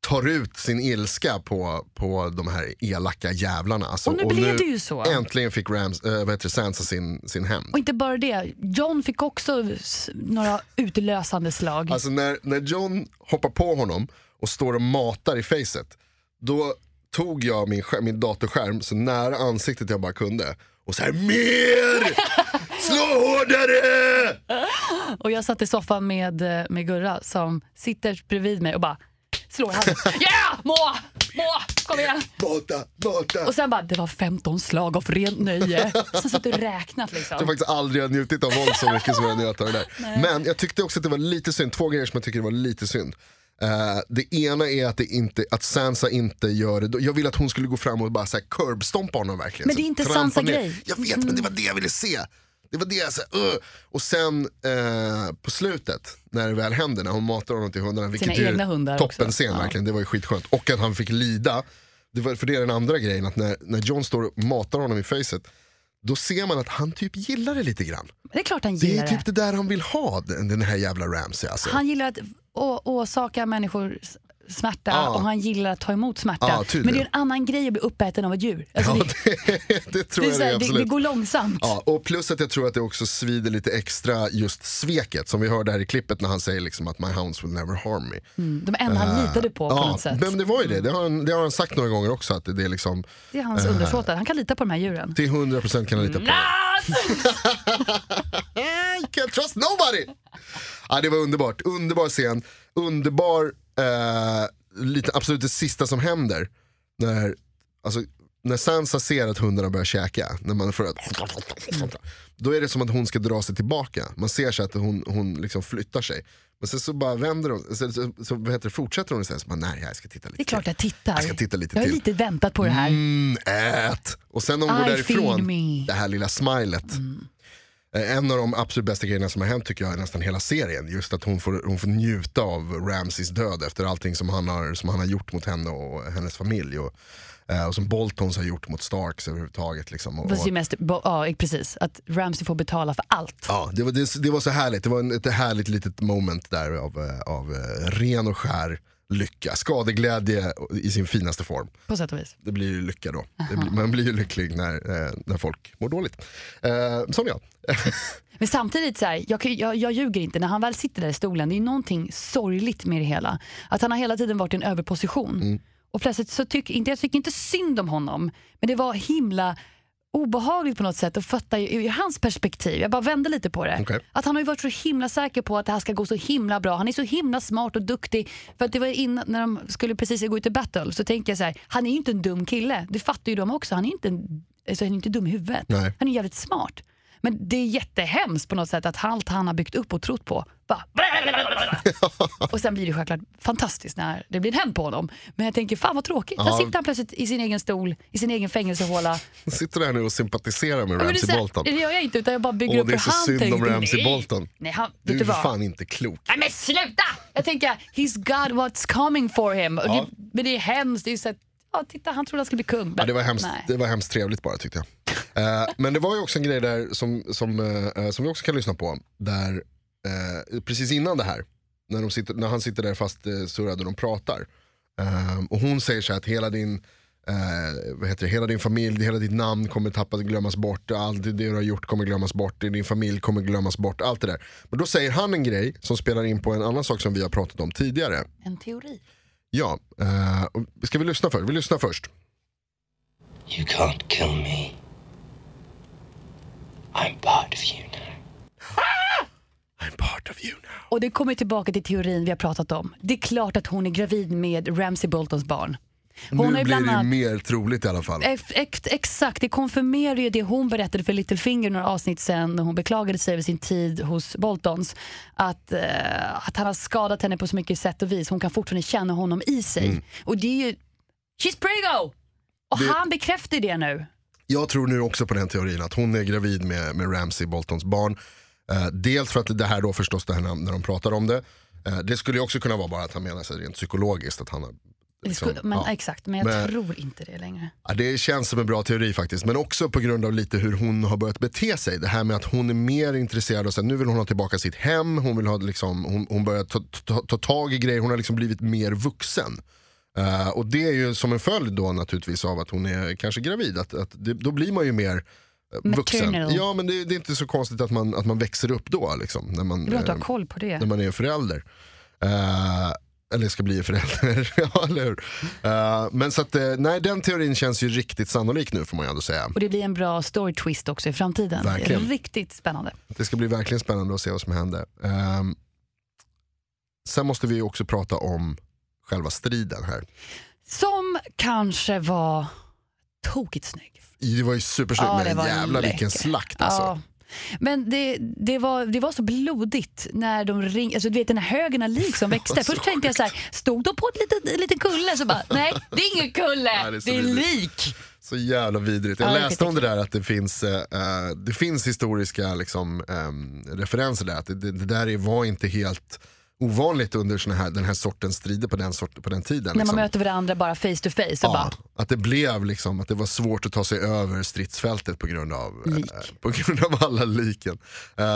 tar ut sin ilska på, på de här elaka jävlarna. Alltså,
Och nu blev det ju så.
Äntligen fick Rams, äh, vad heter det, Sansa sin, sin hämnd.
Och inte bara det, John fick också s- några utlösande slag.
Alltså när, när John hoppar på honom och står och matar i facet då tog jag min, skär- min datorskärm så nära ansiktet jag bara kunde och så här mer! Slå hårdare!
Och jag satt i soffan med, eh, med Gurra som sitter bredvid mig och bara slår handen. Yeah! Må! Må! Kom igen!
Mata, mata.
Och sen bara, det var 15 slag av rent nöje. Sen satt du och räknat
Jag
liksom.
har faktiskt aldrig har njutit av våld så mycket som jag njöt av det där. Men jag tyckte också att det var lite synd, två grejer som jag tycker var lite synd. Eh, det ena är att, det inte, att Sansa inte gör det. Jag ville att hon skulle gå fram och bara så här curbstompa honom verkligen.
Men det är
Så
inte
trampa
Sansa-grej.
ner. Jag vet men det var det jag ville se. Det var det jag sa. Uh. Och sen eh, på slutet när det väl händer, när hon matar honom till hundarna. Vilket
Sina
ju är
egna hundar också.
toppen scen verkligen, det var ju skitskönt. Och att han fick lida. Det var, för det är den andra grejen, att när, när John står och matar honom i facet då ser man att han typ gillar det lite grann.
Det är klart han
Det
gillar
är typ
det.
det där han vill ha, den, den här jävla Ramsey alltså.
Han gillar att å- åsaka människor s- smärta
Ja.
och han gillar att ta emot smärta.
Ja,
Men
tydligen.
det är en annan grej att bli uppäten av ett djur. Alltså,
Ja,
det,
det, det tror
det, är
jag
så
det
här, det,
är,
det
absolut.
går långsamt.
Ja, och plus att jag tror att det också svider lite extra just sveket som vi hörde här i klippet när han säger liksom att my hounds will never harm me.
Mm, De enda han litade på på något sätt.
Eh, men det var ju det, det har, han, det har han sagt några gånger också att det är liksom
Det är hans undersåtar, han kan lita på de här djuren.
till 100% kan han lita på. You can't trust nobody! Ja, det var underbart, underbar scen, underbar, eh, lite, absolut det sista som händer. När, alltså, när Sansa ser att hundarna börjar käka, när man får att, då är det som att hon ska dra sig tillbaka. Man ser så att hon, hon liksom flyttar sig. Men sen så bara vänder hon, så, så, så vad heter det, fortsätter hon och säger så bara, nej jag ska titta lite
Det är klart
till.
jag tittar.
Jag ska titta lite
jag har
till.
lite väntat på det här.
Mm, ät! Och sen när hon går
I
därifrån,
feed me.
det här lilla smilet. Eh, En av de absolut bästa grejerna som har hänt tycker jag i nästan hela serien. Just att hon får, hon får njuta av Ramses död efter allting som han har, som han har gjort mot henne och hennes familj. Och, eh, och som Boltons har gjort mot Starks överhuvudtaget. Liksom. Och,
Fast
och,
ju mest, bo- ja, precis. Att Ramsey får betala för allt.
ja, det, var, det, det var så härligt, det var en, ett härligt litet moment där av, eh, av eh, ren och skär lycka. Skadeglädje i sin finaste form.
På sätt och vis.
det blir ju lycka då. Det blir, man blir ju lycklig när, eh, när folk mår dåligt. Eh, som jag.
Men samtidigt, så här, jag, kan ju- jag, jag ljuger inte. När han väl sitter där i stolen, det är ju någonting sorgligt med det hela. Att han har hela tiden varit i en överposition. Och plötsligt så tycker inte, jag tycker inte synd om honom, men det var himla obehagligt på något sätt att fatta ju- ur hans perspektiv. Jag bara vände lite på det.
Okej.
Att han har ju varit så himla säker på att det här ska gå så himla bra. Han är så himla smart och duktig. För att det var innan, när de skulle precis gå ut i battle så tänkte jag så här, han är ju inte en dum kille. Det fattar ju de också. Han är ju inte, en, alltså, han är inte dum i huvudet.
Nej.
Han är jävligt smart. Men det är jättehemskt på något sätt att allt han har byggt upp och trott på bara... Och sen blir det självklart fantastiskt när det blir en hämnd på honom. Men jag tänker, fan vad tråkigt.
Ja.
Här sitter han plötsligt i sin egen stol, i sin egen fängelsehåla.
Sitter där nu och sympatiserar med
Ja, men det, är så
Ramsey
här-
Bolton.
det gör jag inte, utan jag bara bygger
Åh,
upp
det är
hur
så
han
synd om
tänkte.
Ramsay
Nej.
Bolton.
Nej, han,
Du
vet du
är för
vad?
fan inte klok.
Nej men sluta! Jag tänker, he's got what's coming for him. Och
Ja.
Det, men det är hemskt. Det är så att, ja, titta, han trodde han skulle bli kung.
Ja,
men-
det, var hemskt,
nej.
det var hemskt trevligt bara tyckte jag. Eh, men det var ju också en grej där som, som, eh, eh, som vi också kan lyssna på. Där eh, precis innan det här. När, de sitter, när han sitter där fast eh, surrad och de pratar. Ehm, och hon säger så här att hela din, eh, vad heter det, hela din familj, hela ditt namn kommer tappas, glömmas bort. Allt det du har gjort kommer glömmas bort. Din familj kommer glömmas bort. Allt det där. Men då säger han en grej som spelar in på en annan sak som vi har pratat om tidigare.
En teori.
Ja, eh, och ska vi lyssna först? Vi lyssnar först.
You can't kill me. I'm part of you now.
I'm part of you now.
Och det kommer tillbaka till teorin vi har pratat om. Det är klart att hon är gravid med Ramsey Boltons barn. Hon har
nu
ju
blir
bland
det ju
annat- Eh.
mer troligt i alla fall.
Ex- ex- Exakt, det konfirmerar ju det hon berättade för Littlefinger några avsnitt sen när hon beklagade sig över sin tid hos Boltons. Att, eh, att han har skadat henne på så mycket sätt och vis. Hon kan fortfarande känna honom i sig. Och det är ju... She's prego! Och
Mm. Det-
han bekräftar det nu.
Jag tror nu också på den teorin att hon är gravid med, med Ramsey Boltons barn. Eh, dels för att det här då förstås det här när, när de pratar om det. Eh, det skulle ju också kunna vara bara att han menar sig rent psykologiskt. Att han har,
Det
liksom,
skulle, men,
ja.
Exakt, men jag
Men-
tror inte det längre.
Ja, det känns som en bra teori faktiskt. Men också på grund av lite hur hon har börjat bete sig. Det här med att hon är mer intresserad och sen nu vill hon ha tillbaka sitt hem. Hon, vill ha, liksom, hon, hon börjar ta, ta, ta tag i grejer. Hon har liksom blivit mer vuxen. Eh, och det är ju som en följd då naturligtvis av att hon är kanske gravid. Att, att det, då blir man ju mer eh, vuxen.
Maternal.
Ja men det, det är inte så konstigt att man, att man växer upp då. Liksom, när man,
Det är bra att du
eh,
har koll på det.
när man är förälder. Eh, eller ska bli förälder. ja, eller hur? Eh, men så att, eh, nej, den teorin känns ju riktigt sannolik nu får man ju ändå säga.
Och det blir en bra story twist också i framtiden.
Verkligen.
Riktigt spännande.
Det ska bli verkligen spännande att se vad som händer. Ehm, sen måste vi ju också prata om själva striden här.
Som kanske var tokigt snygg.
Det var ju supersnyggt,
Ja, det
men
var
jävlar vilken
läcker.
slakt alltså.
Ja. Men det, det, var, det var så blodigt när de ringde, alltså, du vet den här högen av lik som växte.
var så
Först tänkte jag så här, stod de på ett litet, en liten kulle? Så bara, nej det är ingen kulle,
Nej, det är så
det är
vidrigt.
lik.
Så jävla vidrigt. Jag
Ja,
läste om det
riktigt.
där att det finns, eh, eh, det finns historiska liksom, ehm, referenser där. Att det, det, det där är- var inte helt ovanligt under såna här, den här sortens strider på den, sort, på den tiden.
När man
liksom.
möter varandra bara face to face. Och bara,
ja, att det blev liksom, att det var svårt att ta sig över stridsfältet på grund av, eh,
Lik.
på grund av alla liken. Eh,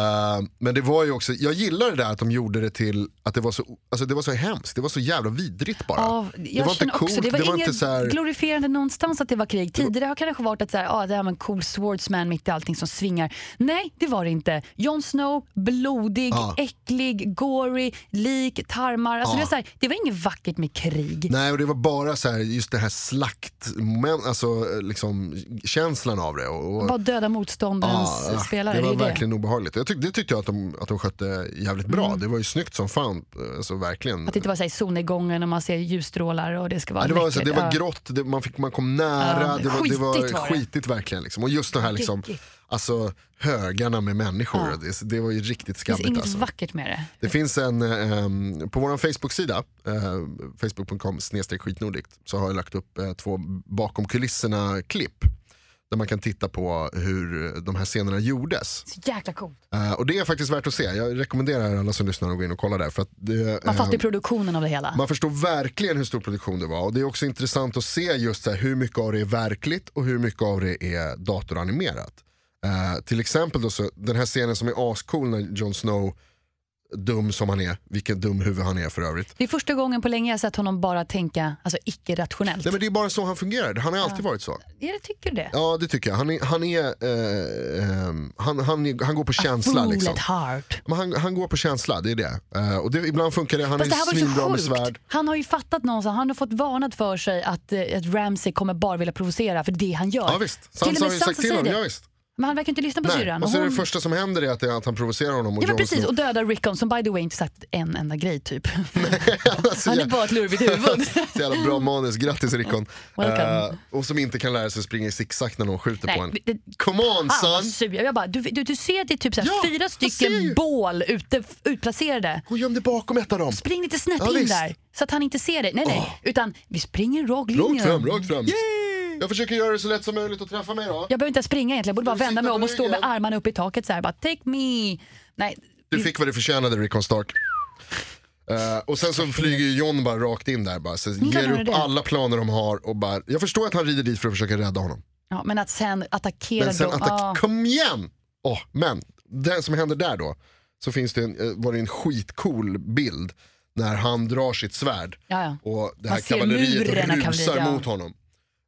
men det var ju också, jag gillar det där att de gjorde det till att det var så, alltså det var så hemskt, det var så jävla vidrigt bara.
Ja,
det
jag
var inte
känner
coolt,
också, det var, inget
så här-
glorifierande någonstans att det var krig. Tidigare har det kanske varit att så här, ah, det här var en cool swordsman mitt i allting som svingar. Nej, det var det inte. Jon Snow, blodig,
Ja.
äcklig, gory, lik, tarmar. Alltså,
Ja.
det, var så här, det var inget vackert med krig.
Nej, och det var bara så här, just det här slaktkänslan alltså, liksom, känslan av det. Och, och,
Bara döda motståndarens
Ja,
spelare.
det var
är
verkligen obehagligt. Jag tyck, det tyckte jag att de, att de skötte jävligt bra. Det var ju snyggt som fan. Alltså, verkligen.
Mm. Att det inte var så här, i solnedgången och man ser ljusstrålar och det ska vara
Ja, det var, så, det
läckert.
var
Ja.
grått, det, man, fick, man kom nära,
Ja,
det, var, det var
skitigt var det.
skitigt verkligen. Liksom. Och just de här liksom,
Geckigt.
alltså, högarna med människor,
Ja.
det, det var ju riktigt
Det finns
skabbigt.
inget
Alltså.
vackert med det.
Det finns en, eh, em, på vår Facebook-sida, eh, facebook.com snedstreck skitnordigt, så har jag lagt upp eh, två bakom kulisserna-klipp. Där man kan titta på hur de här scenerna gjordes.
Så jäkla coolt.
Eh, och det är faktiskt värt att se. Jag rekommenderar alla som lyssnar att gå in och kolla där. För att det,
Man
eh,
fattar ju produktionen av det hela.
man förstår verkligen hur stor produktion det var och det är också intressant att se just så här hur mycket av det är verkligt och hur mycket av det är datoranimerat. Eh, till exempel då så, den här scenen som är ascool när Jon Snow, dum som han är, vilken dum huvud han är för övrigt.
Det är första gången på länge jag sett honom bara tänka alltså, icke-rationellt.
Nej men det är bara så han fungerar, han har alltid varit så.
Ja, jag tycker det.
Ja det tycker jag, han, är, han, är, eh, ehm, han, han, är, han går på känsla
Fool
liksom.
at heart.
Men han, han går på känsla, det är det. Eh, och det, ibland funkar det, han
Fast det här
är
var ju
svinbra med
så
svärd.
sjukt. Han har ju fattat någonstans, han har fått varnat för sig att, eh, att Ramsey kommer bara vilja provocera för det han gör.
Ja visst,
Till och med
Sansa har ju sagt till
säger
honom,
det.
ja, visst.
Men han verkar inte lyssna på
Nej.
syrran.
Och så är det
Hon-
första som händer är att, det är att han provocerar honom och
Ja men
Jon
precis,
Snow-
och döda Rickon som by the way inte sagt en enda grej typ.
Alltså,
Han är
jä-
bara ett lurvigt huvud.
Så jävla bra manus, grattis Rickon.
Welcome.
Eh, och som inte kan lära sig springa i zigzag när någon skjuter
Nej,
på en.
det-
Come on
Fan, vad
son!
sur jag- Jag bara, du, du, du ser att det är typ såhär,
Ja,
fyra
jag ser ju.
stycken bål ute, utplacerade.
Gå och göm dig bakom ett av dem.
Spring lite snett
Ja,
in
visst. Ah.
där så att han inte ser dig. Nej nej, utan vi springer rakt
Rakt
linjen.
fram, rakt fram. Jag försöker göra det så lätt som möjligt att träffa mig då.
Jag behöver inte ens springa egentligen, jag borde
Ska
bara
du
vända mig
sitta
om
på
och stå med
ryggen?
armarna upp i taket såhär bara take me. Nej,
Du fick vad du förtjänade Rickon Stark. Eh, och sen så flyger ju John bara rakt in där. Bara, så
kan
ger
göra
upp
det.
alla planer de har och bara, jag förstår att han rider dit för att försöka rädda honom.
ja, men att sen attackera Ah,
Men sen
dem.
attack,
ja.
kom igen! Åh, men det som händer där då, så finns det en, eh, var det en skitcool bild när han drar sitt svärd
Ja, ja.
och det
Man
här
ser
kavalleriet
muren av
rusar
kavalleriet, ja.
mot honom.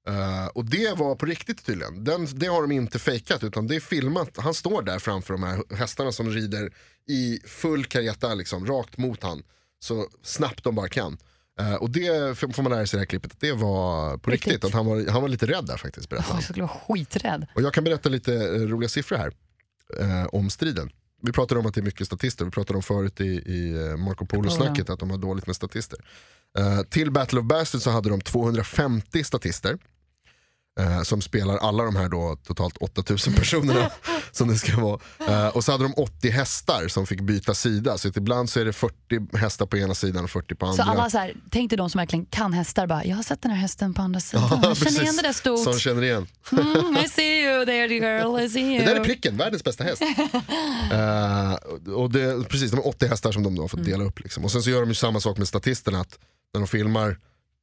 Eh, och det var på riktigt tydligen. Den, det har de inte fejkat utan det är filmat. Han står där framför de här hästarna som rider i full kareta liksom, rakt mot han. Så snabbt de bara kan. Eh, och det f- får man lära sig i det här klippet, att det var på riktigt.
Riktigt.
Att han, var, han var lite rädd där faktiskt. Berättade.
Jag
han.
skulle vara skiträdd.
Och jag kan berätta lite eh, roliga siffror här eh, om striden. Vi pratade om att det är mycket statister, vi pratade om förut i, i eh, Marco Polo-snacket att de har dåligt med statister. Eh, till Battle of Bastards så hade de 250 statister. Eh, som spelar alla de här då totalt 8000 personerna som det ska vara. Eh, och så hade de 80 hästar som fick byta sida. Så att ibland så är det 40 hästar på ena sidan och 40 på andra.
Så alla så här, tänk dig de som verkligen kan hästar bara, jag har sett den här hästen på andra sidan.
Ja,
jag känner igen
precis.
det där stort.
Som känner igen.
Mm, I see you there girl, I see you.
Det där är pricken, världens bästa häst. Eh, och det, precis, de har 80 hästar som de då har
Mm.
fått dela upp. Liksom. Och sen så gör de ju samma sak med statisterna, att när de filmar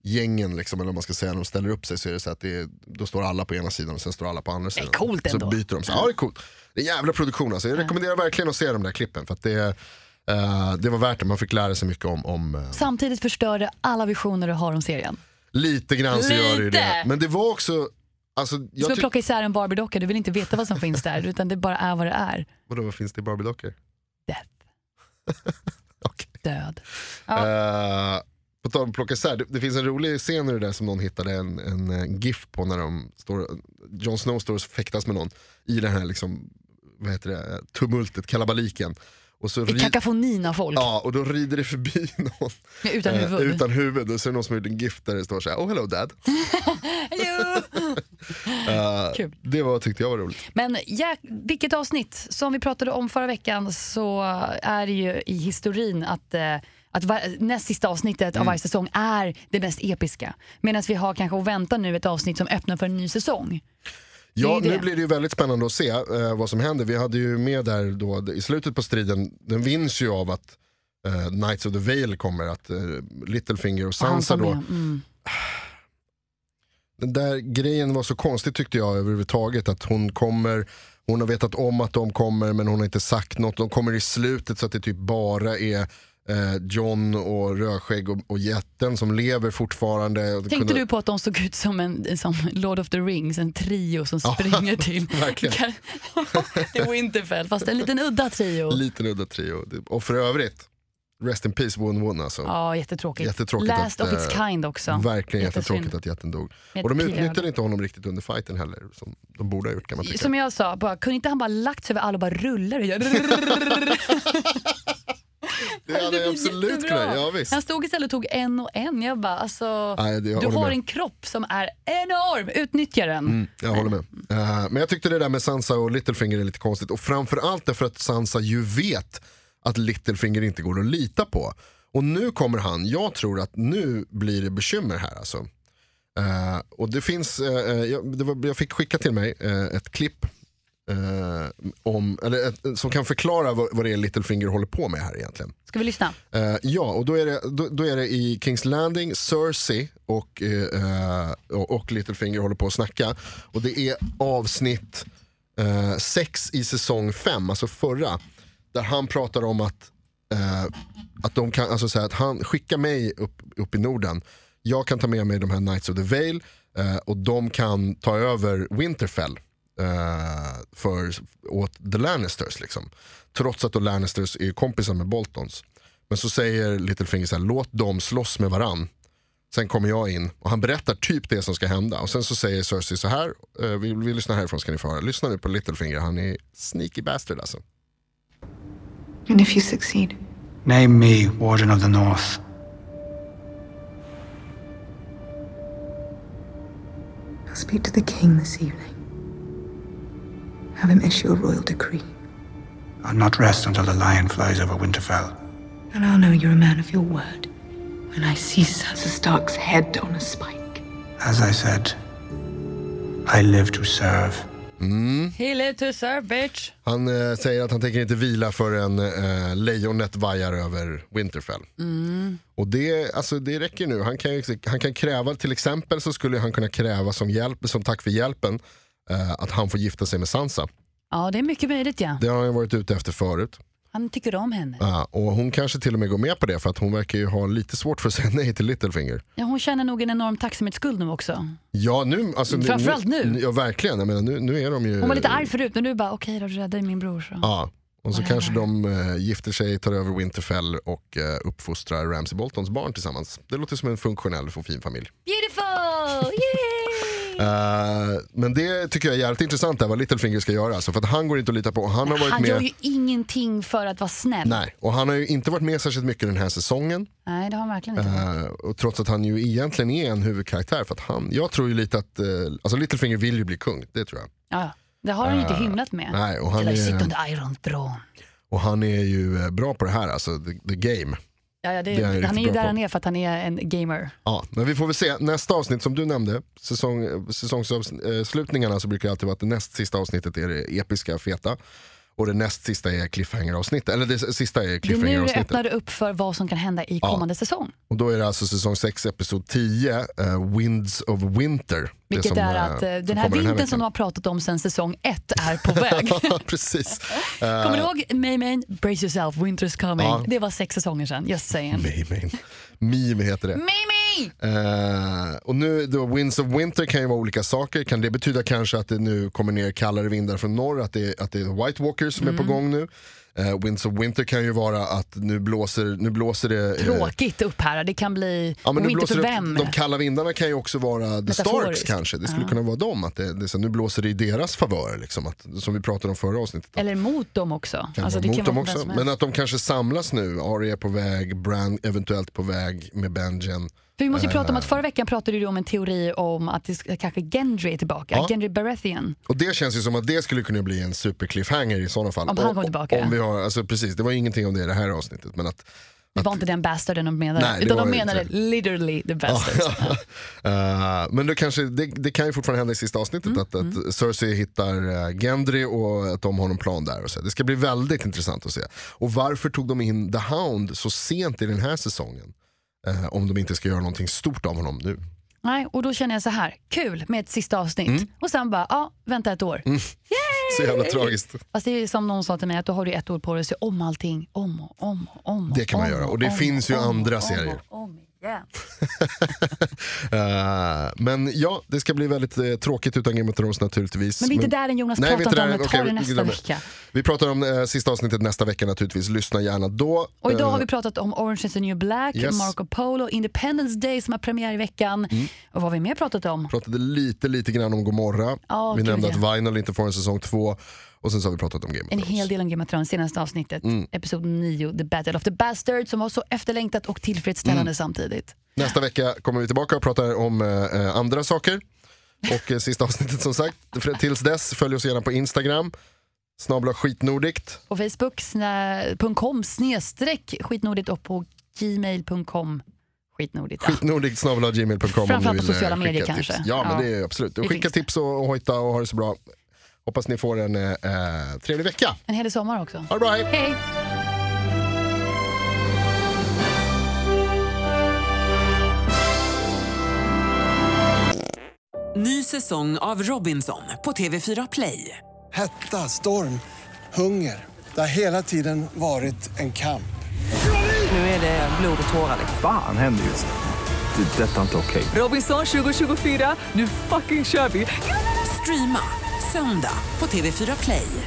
gängen, liksom, eller vad man ska säga, när de ställer upp sig så är det så att det är, då står alla på ena sidan och sen står alla på andra sidan.
coolt
så
ändå.
byter de. Så, ja, det är coolt. Det är en jävla produktion alltså. Jag rekommenderar verkligen att se de där klippen för att det, eh, det var värt det. Man fick lära sig mycket om, om eh,
Samtidigt förstör det alla visioner du har om serien.
lite grann så gör det ju
Lite.
det. Men det var också, alltså,
Som
jag
att
tyck-
plocka isär en Barbie-docka, du vill inte veta vad som finns där utan det bara är vad det är.
vadå vad finns det i Barbie-dockor?
Death,
Okej.
död.
Eh, på tal om att plocka isär, det, det finns en rolig scen i det där som någon hittade en, en eh, GIF på när de står, Jon Snow står och fäktas med någon i det här liksom, vad heter det, tumultet, kalabaliken. Och så
I
ri-
Kakofonin av folk,
Ja, och då rider det förbi någon
utan
eh,
huvud.
utan huvud och så är det någon som har gjort en GIF där det står så här, oh hello dad.
Hello.
Eh,
Kul.
det var, tyckte jag var roligt.
Men ja, vilket avsnitt? Som vi pratade om förra veckan så är det ju i historin att, eh, att var, näst sista avsnittet
Mm.
av varje säsong är det mest episka. Medan vi har kanske och väntar nu ett avsnitt som öppnar för en ny säsong.
Ja,
Det är
nu
det.
blir det ju väldigt spännande att se eh, vad som händer. Vi hade ju med där då, i slutet på striden, den vinns ju av att eh, Knights of the Vale kommer, att eh, Littlefinger och
Och han
Sansa
som
då
är- Mm.
Den där grejen var så konstig tyckte jag överhuvudtaget. Att hon kommer, hon har vetat om att de kommer men hon har inte sagt något. De kommer i slutet så att det typ bara är eh, John och Rödskägg och, och jätten som lever fortfarande.
Tänkte du på att de såg ut som en som Lord of the Rings, en trio som springer till
verkligen.
till Winterfell, fast en liten udda trio.
Liten udda trio. Och för övrigt, Rest in Peace Won Won alltså.
Ja, jättetråkigt.
Jättetråkigt
Last
att,
of its
eh,
kind också.
Verkligen
Jättesynd.
jättetråkigt att jätten dog.
Med
Och de
pilöga.
utnyttjade inte honom riktigt under fighten heller. Som de borde ha gjort kan man tycka.
Som jag sa, bara, kunde inte han bara lagt sig över alla och bara rullar? och gör-
det hade jag
blir
absolut
jättebra.
kunnat. Ja, visst.
Han stod istället och tog en och en. Jag bara, alltså,
Nej, det- jag
du
håller
har
med. Mm.
en kropp som är enorm. Utnyttja den.
Jag håller med. Eh, men jag tyckte det där med Sansa och Littlefinger är lite konstigt. Och framförallt därför att Sansa ju vet att Littlefinger inte går att lita på. Och nu kommer han, jag tror att nu blir det bekymmer här alltså. Eh, och det finns, eh, eh, jag, det var, jag fick skicka till mig eh, ett klipp eh, om, eller ett, som kan förklara vad, vad det är Littlefinger håller på med här egentligen.
Ska vi lyssna?
Eh, ja, och då är, det, då, då är det i Kings Landing, Cersei och, eh, eh, och, och Littlefinger håller på att snacka. Och det är avsnitt 6 i säsong 5, alltså förra. Där han pratar om att, eh, att, de kan, alltså så här, att han skickar mig upp, upp i Norden. Jag kan ta med mig de här Knights of the Vale eh, och de kan ta över Winterfell eh, för, åt The Lannisters. Liksom. Trots att då Lannisters är kompisar med Boltons. Men så säger Littlefinger så här, låt dem slåss med varann. Sen kommer jag in och han berättar typ det som ska hända. Och sen så säger Cersei så här, eh, vi, vi lyssnar härifrån ska ni få höra. Lyssna nu på Littlefinger, han är sneaky bastard alltså.
And if you succeed,
Name me Warden of the North.
I'll speak to the king this evening. Have him issue a royal decree,
I'll not rest until the lion flies over Winterfell.
and I'll know you're a man of your word when I see Sansa Stark's head on a spike.
As I said, I live to serve.
He lived to serve bitch.
Han eh, säger att han tänker inte vila förrän eh, lejonet vajar över Winterfell. Och det, alltså, det räcker nu. Han kan, ju- han kan kräva, till exempel så skulle han kunna kräva som, hjälp, som tack för hjälpen eh, att han får gifta sig med Sansa.
Ja, det är mycket möjligt ja.
Det har han ju varit ute efter förut.
Han tycker om henne.
Ja, Eh, och hon kanske till och med går med på det för att hon verkar ju ha lite svårt för att säga nej till Littlefinger.
Ja, hon känner nog en enorm tacksamhetsskuld nu också.
Ja, nu, alltså,
Framförallt nu.
Ja, verkligen. Jag menar, nu, nu är de ju...
Hon var lite arg Äh. förut, men nu bara okej då, du räddade min bror. Så.
Eh. Ja, och så
Whatever.
kanske de eh, gifter sig, tar över Winterfell och eh, uppfostrar Ramsay Boltons barn tillsammans. Det låter som en funktionell och fin familj.
Beautiful! Yay!
Eh, men det tycker jag är jävligt intressant där, vad Littlefinger ska göra. Alltså, för att han går inte att lita på. Han har varit
Han
med...
gör ju ingenting för att vara snäll.
Nej, och han har ju inte varit med särskilt mycket den här säsongen.
Nej, det har han verkligen inte.
Eh, och trots att han ju egentligen är en huvudkaraktär. För att han, jag tror ju lite att, eh, alltså Littlefinger vill ju bli kung, det tror jag.
Ja, ja. det har han ju inte hymlat med.
Ah, Nej, och han
Till I sit on
är,
the Iron Throne.
och han är ju eh, bra på det här, alltså the, the game.
Ja, ja, det,
Det är han
han är
riktigt
ju
bra
där
på.
han är för att han är en gamer.
Ja, men vi får väl se, nästa avsnitt som du nämnde, säsong, säsongsavslutningarna så brukar det alltid vara att det näst sista avsnittet är det episka, feta. Och det näst sista är cliffhanger-avsnittet, eller det s- sista är
Det är nu det
cliffhanger-avsnittet.
öppnar upp för vad som kan hända i kommande säsong.
Och då är det alltså säsong 6, episod 10, eh, Winds of Winter. Det
Vilket
som,
är
eh,
att eh, den
som
här
kommer
vintern
veckan.
som de har pratat om sedan säsong ett är på väg.
Ja, precis. Eh,
Kommer du ihåg May Main, Brace yourself, winter's coming.
Ja.
Det var sex säsonger sedan, just saying.
Meme. Meme heter det.
Mimi!
Eh, och nu då, Winds of Winter kan ju vara olika saker. Kan det betyda kanske att det nu kommer ner kallare vindar från norr, att det, att det är White Walkers som är
Mm.
på gång nu? Eh, Winds of Winter kan ju vara att nu blåser, nu blåser det... eh,
Tråkigt upp här, det kan bli
Ja, men nu
winter
blåser
för
det-
vem.
De kalla vindarna kan ju också vara The Starks
Metaforiskt.
kanske. Det skulle kunna vara dem. Att det, det, är så här, nu blåser det i deras favör, liksom, att, som vi pratade om förra avsnittet.
Eller mot dem också.
Kan
Alltså,
vara mot dem
vem
också.
som helst.
Men att de kanske samlas nu. Ari är på väg, Bran eventuellt på väg med Benjen.
För vi
Eh,
måste ju prata om att förra veckan pratade du om en teori om att det sk- kanske Gendry är tillbaka,
Ja.
Gendry Baratheon.
Och det känns ju som att det skulle kunna bli en supercliffhanger i sådana fall.
Om han
Och-
kommer tillbaka,
Om
ja.
vi har, alltså, precis, det var ingenting om det i det här avsnittet. Men att,
Det var inte den bastarden de menade,
Nej, det
utan de
var det
menade
inte.
literally the bastard.
Eh, men det, kanske, det, det kan ju fortfarande hända i sista avsnittet
Mm,
att, att Cersei hittar eh, Gendry och att de har någon plan där. Och så. Det ska bli väldigt intressant att se. Och varför tog de in The Hound så sent i den här säsongen? Eh, om de inte ska göra någonting stort av honom nu.
Nej, och då känner jag så här, kul med ett sista avsnitt.
Mm.
Och sen bara, ja, vänta ett år.
Så jävla tragiskt.
Fast det är ju som någon sa till mig, att då har du ett år på dig att se om allting, om och om och om.
Det kan man
om
göra, och det finns ju andra serier.
Och om igen.
Eh, men ja, det ska bli väldigt eh, tråkigt utan Game of Thrones naturligtvis.
Men vi är inte där än, Jonas.
Nej, vi är
Prata
inte
inte
där
om det.
än.
Ta det nästa
Okej, vi- glömmer.
vecka.
Vi pratar om eh, sista avsnittet nästa vecka naturligtvis. Lyssna gärna då.
Och idag
Eh,
har vi pratat om Orange is the new black,
Yes. Mm.
Marco Polo, Independence Day som har premiär i veckan. Och vad har vi mer pratat om?
Eh, pratade lite, lite grann om Gomorra.
Ja,
vi
gud,
nämnde
ja.
att Vinyl inte får en säsong två. Och sen så har vi pratat om Game of
En
Thrones.
hel del om Game of Thrones, senaste avsnittet, episod 9, The Battle of the Bastards, som var så efterlängtat och tillfredsställande samtidigt.
Nästa vecka kommer vi tillbaka och pratar om eh, eh, andra saker. Och eh, sista avsnittet som sagt. För- Tills dess, följ oss gärna på Instagram. Snabla skitnordigt.
På facebook.com snedstreck skitnordigt och på gmail.com skitnordigt. Ja.
Skitnordigt snabla gmail.com om
Framförallt
ni
på
vill eh,
sociala medier
skicka
kanske.
Tips. Ja,
Ja.
men det är absolut.
Det
Skicka
finns
tips och, och hojta och ha det så bra. Hoppas ni får en eh, eh, trevlig vecka.
Ah, En hel sommar också.
Ha det bra, hej!
Hej!
Ny säsong av Robinson på TV4 Play.
Hetta, storm, hunger. Det har hela tiden varit en kamp.
Nu är det blod och tårar.
Fan händer just nu. Det. är Detta är inte okej.
Robinson 2024, nu fucking kör vi! Streama söndag på TV4 Play.